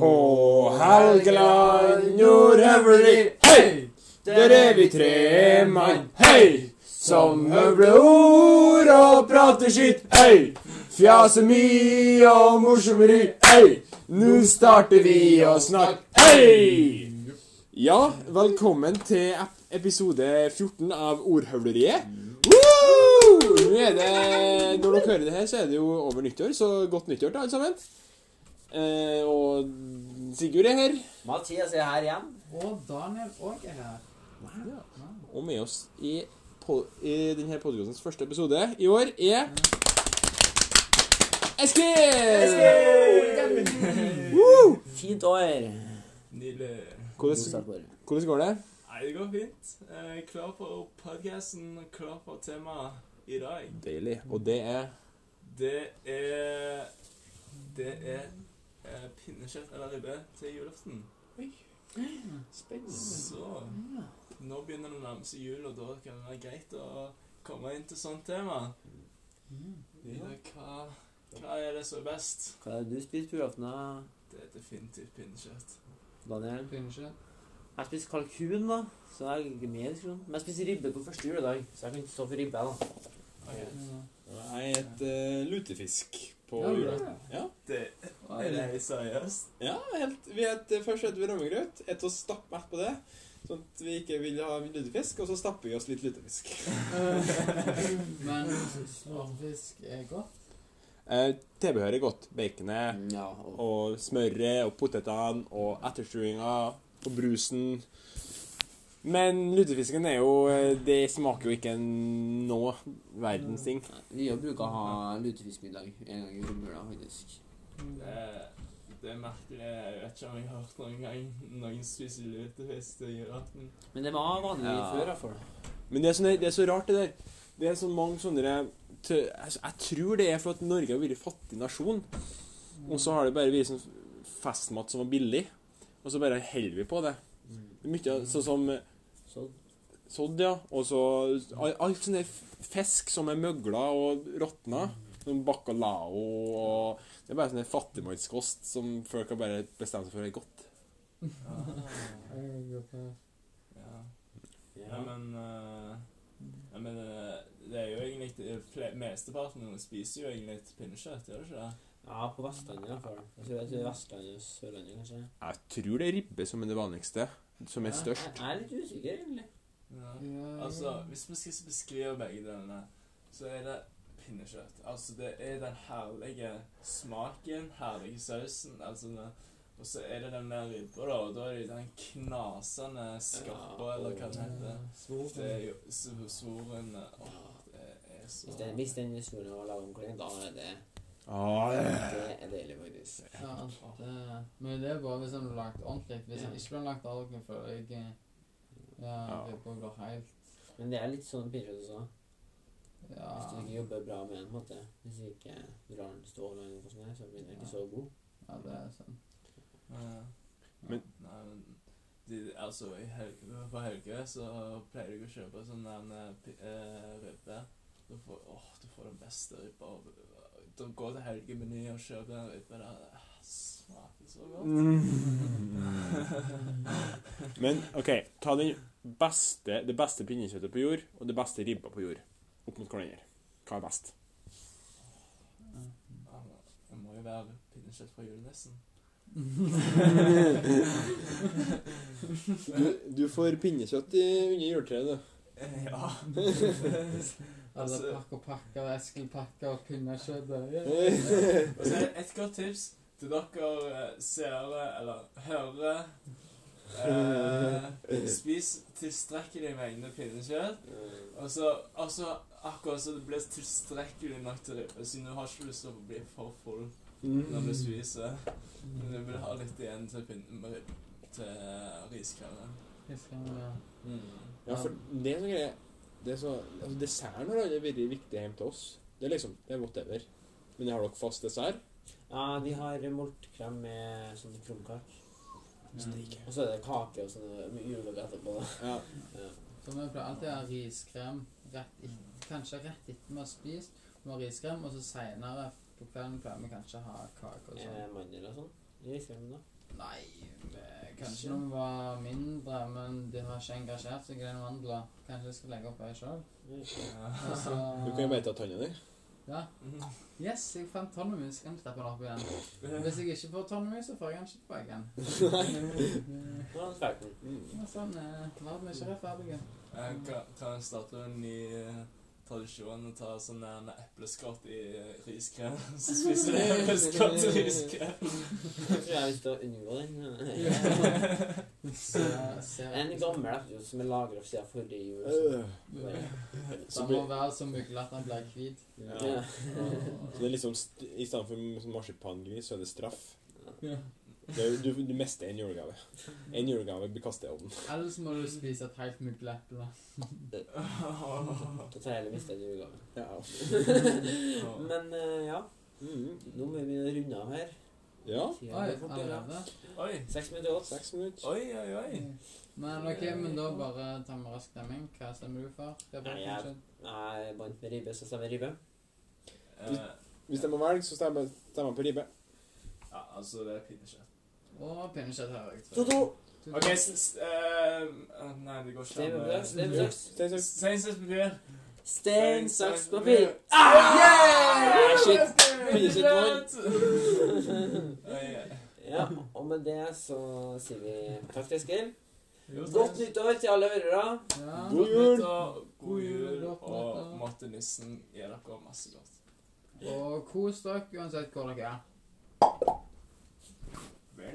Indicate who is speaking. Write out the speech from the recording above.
Speaker 1: På Helgeland nordhøvleri, hei! Der er vi tre mann, hei! Som høvler ord og prater skitt, hei! Fjaser mye og morsommeri, hei! Nå starter vi å snakke, hei! Ja, velkommen til ep- episode 14 av Ordhøvleriet. Woo! Nå er det, når dere hører det her, så er det jo over nyttår, så godt nyttår til alle sammen. Eh, og Sigurd er her,
Speaker 2: Mathias er her igjen.
Speaker 3: Og Daniel òg er her.
Speaker 1: og med oss i, po- i denne podkastens første episode i år er Eskil! Woo!
Speaker 2: Fint år.
Speaker 4: Nydelig.
Speaker 1: Hvordan, hvordan går det?
Speaker 4: Nei, det går fint. Jeg er klar for podkasten, klar for temaet i dag.
Speaker 1: Deilig. Og det er
Speaker 4: Det er Det er eh, pinnekjøtt eller ribbe til julaften.
Speaker 3: Mm.
Speaker 4: Så nå begynner det å nærme seg jul, og da kan det være greit å komme inn til sånt tema. Mm. Vidar, hva, hva er det som er best?
Speaker 2: Hva er det du spiser på julaften, da,
Speaker 4: Det er definitivt pinnekjøtt.
Speaker 2: Daniel?
Speaker 3: Pinnekjøtt.
Speaker 2: Jeg spiser kalkun, da. Så jeg er ikke med i diskusjonen. Men jeg spiser ribbe på første juledag, så jeg kan ikke stå for ribbe, jeg, da.
Speaker 4: Ok,
Speaker 5: Nei, et eh, lutefisk på
Speaker 3: Ja,
Speaker 5: jula.
Speaker 3: ja.
Speaker 5: Ja,
Speaker 4: Det
Speaker 3: Oi,
Speaker 4: er
Speaker 3: det
Speaker 4: helt seriøst.
Speaker 5: ja helt, vi et, først spiser vi rammegrøt, et oss stappmett på det, sånn at vi ikke vil ha lutefisk, og så stapper vi oss litt lutefisk.
Speaker 3: Men slåfisk er godt.
Speaker 1: eh, tilbehøret er godt. Baconet
Speaker 2: Ja, og
Speaker 1: og smøret og potetene og etterstuinga og brusen. Men lutefisken er jo eh, Det smaker jo ikke noe verdens ting.
Speaker 2: Nya bruker å ha lutefiskmiddag en gang i romjula, faktisk.
Speaker 4: Det er, Eh, det er merkelig. Jeg vet ikke om jeg har hørt noen gang noen spiser lutefisk til julaften.
Speaker 2: Men det var vanlig
Speaker 1: Ja.
Speaker 2: før, i hvert fall.
Speaker 1: Men det er, sånn, det er så rart, det der. Det er så mange sånne tø, altså, Jeg tror det er for at Norge har vært en fattig nasjon.
Speaker 3: Mm.
Speaker 1: Og så har det bare vært sånn festmat som var billig. Og så bare holder vi på det.
Speaker 2: Mm.
Speaker 1: Det er Mye av- sånn som
Speaker 2: Så
Speaker 1: sådd, ja. Og så al- alt sånne f- fisk som er møgla og råtna. Som bacalao og Det er bare sånn fattigmannskost som folk har bare bestemt seg for er godt.
Speaker 4: Ja.
Speaker 2: ja.
Speaker 4: Nei, men, eh, nei, men eh, det er jo egentlig det fle- Mesteparten av oss spiser jo egentlig et pinnekjøtt, gjør det ikke det?
Speaker 2: ja, på Vestlandet i hvert fall. Jeg tror det er Vestlandet, Sørlandet, kanskje.
Speaker 1: Jeg tror det er ribbe som er det vanligste. Som er
Speaker 2: Jeg,
Speaker 1: størst.
Speaker 2: jeg er litt usikker, egentlig.
Speaker 4: Ja.
Speaker 3: Ja,
Speaker 4: Altså, Hvis vi skal beskrive begge delene, så er det pinnekjøtt. Altså, det er den herlige smaken, herlige sausen. altså det, Og så er det den der ribba, da. Og da er det den knasende skarpe,
Speaker 2: Ja,
Speaker 4: eller hva det
Speaker 3: ja.
Speaker 4: heter. Det er jo så svoren eh, Åh, det er så
Speaker 2: Hvis den, hvis den historien var laget om kleng, da er det,
Speaker 1: Ah, ja.
Speaker 2: det er deilig, faktisk.
Speaker 3: Ja, det, men det er bare hvis han blir lagt ordentlig. Hvis han ikke blir lagt ordentlig, føler jeg ikke Ja,
Speaker 1: Ja.
Speaker 3: det bare går helt
Speaker 2: Men det er litt sånn pinnekjøtt også.
Speaker 3: Ja.
Speaker 2: Hvis du ikke jobber bra med den, på en måte. Hvis du ikke drar den stå lenge, og sånn her, så blir den ikke så god.
Speaker 3: ja, det er sant.
Speaker 4: Ja.
Speaker 1: Men-
Speaker 4: Nei, men de, altså, i Helge, på Helge så pleier jeg å kjøpe sånn der eh, pi- eh, ribbe. Du får, åh, du får den beste ribba. Du går til Helge-meny og kjøper en ribbe der. Det smaker så godt.
Speaker 1: Mm. Men OK, ta den beste, det beste pinnekjøttet på jord og det beste ribba på jord opp mot hverandre. Hva er best?
Speaker 4: Ja, men Det må jo være pinnekjøtt fra julenissen.
Speaker 1: Du, får pinnekjøtt under juletreet, du.
Speaker 4: Eh, Ja.
Speaker 3: Alle
Speaker 4: Altså-
Speaker 3: pakker og pakker, Eskil pakker og pinnekjøtt og
Speaker 4: Og så er et godt tips til dere eh, seere, eller hørere eh, Spis tilstrekkelig mengde pinnekjøtt. Og så, og så Altså, akkurat så det blir tilstrekkelig nok til ribbe, siden du har ikke lyst til å bli for full når
Speaker 1: Mm.
Speaker 4: du spiser. Men du vil ha litt igjen til, pin- med rib- til riskremmen.
Speaker 3: Ja.
Speaker 1: Mm. Ja, for det er noe greier. Det er så, altså desserten har aldri vært viktig hjemme til oss. Det er liksom det er whatever. Men har dere fast dessert?
Speaker 2: Ja, de har moltkrem med sånn krumkak.
Speaker 1: Steak.
Speaker 2: Og så er det kake og sånn med julegave etterpå. da.
Speaker 1: Ja.
Speaker 2: Ja.
Speaker 3: Så vi pleier alltid å ha riskrem rett i, kanskje rett etter vi har spist. Vi har riskrem, og så seinere på kvelden pleier vi kanskje å ha kake og sånn.
Speaker 2: Med mandel og sånn. I filmen, da?
Speaker 3: Nei, eh, kanskje når vi var mindre, men de har ikke engasjert seg i den mandelen. Kanskje jeg skal legge opp ei sjøl.
Speaker 5: Du kan jo bare ta tanna di.
Speaker 3: Ja. Yes, jeg fant tonna mi, så kan jeg stappe den opp igjen. Hvis jeg ikke får tonna mi, så får jeg den ikke tilbake igjen.
Speaker 2: Nå er han sterk.
Speaker 3: Ja, sånn eh, verden er ikke rettferdig.
Speaker 4: Jeg kan, kan jeg starte en ny eh, tradisjon og ta sånn der med epleskott i eh, riskrem? Så spiser du epleskott i riskrem.
Speaker 2: Jeg tror jeg har lyst til å unngå den.
Speaker 3: Så- så-
Speaker 2: En gammel episode som er lagret siden forrige jul.
Speaker 1: Øh.
Speaker 2: så-
Speaker 3: Den må være så mygla at den blir hvit.
Speaker 5: Ja.
Speaker 2: Ja.
Speaker 5: Så det er liksom st I stedet for sånn marsipangris, så er det straff.
Speaker 3: Ja.
Speaker 5: Det er, jo- du, du mister en julegave. En julegave blir kastet i ovnen.
Speaker 3: Ellers må du spise et helt mygleeple.
Speaker 2: Da tar jeg heller mistet en julegave.
Speaker 5: Ja.
Speaker 2: Men eh, ja,
Speaker 5: Mm.
Speaker 2: nå må vi begynne å runde av her.
Speaker 5: ja.
Speaker 2: Tiden
Speaker 3: Oi,
Speaker 2: går fort, ja.
Speaker 3: allerede?
Speaker 4: Oi,
Speaker 2: Seks minutter godt.
Speaker 5: Seks minutter.
Speaker 4: oi, oi, oi.
Speaker 3: Men ok, men da bare tar vi rask stemming. Hva stemmer du for? Det er bare
Speaker 2: Nei, jeg-
Speaker 3: fortsatt.
Speaker 2: Nei, jeg bandt med ribbe, så stemmer ribbe.
Speaker 4: Eh,
Speaker 5: Hvis jeg må velge, så stemmer stemmer jeg på ribbe.
Speaker 4: ja, altså, det er pinnekjøtt.
Speaker 3: Og pinnekjøtt hører jeg. tror jeg.
Speaker 2: Toto!
Speaker 3: Toto.
Speaker 4: OK, s... s- eh, eh, nei, det går ikke
Speaker 2: Stein, papir,
Speaker 4: an.
Speaker 2: stein, papir.
Speaker 5: Stein, saks.
Speaker 4: Stein, saks, papir.
Speaker 2: Stein, saks, papir. Ah!
Speaker 4: Yeah!
Speaker 2: Ah, shit.
Speaker 5: Pinnekjøtt
Speaker 4: Oi, oi.
Speaker 2: Ja, og med det så sier vi takk til Eskil.
Speaker 4: Jo,
Speaker 2: Godt
Speaker 4: takk.
Speaker 2: nyttår til alle hørere.
Speaker 3: Ja.
Speaker 5: God jul!
Speaker 4: nyttår, God jul,
Speaker 3: Godt
Speaker 4: og
Speaker 3: nyttår.
Speaker 4: måtte nissen gi dere masse godt.
Speaker 3: Og kos dere uansett hvor dere er.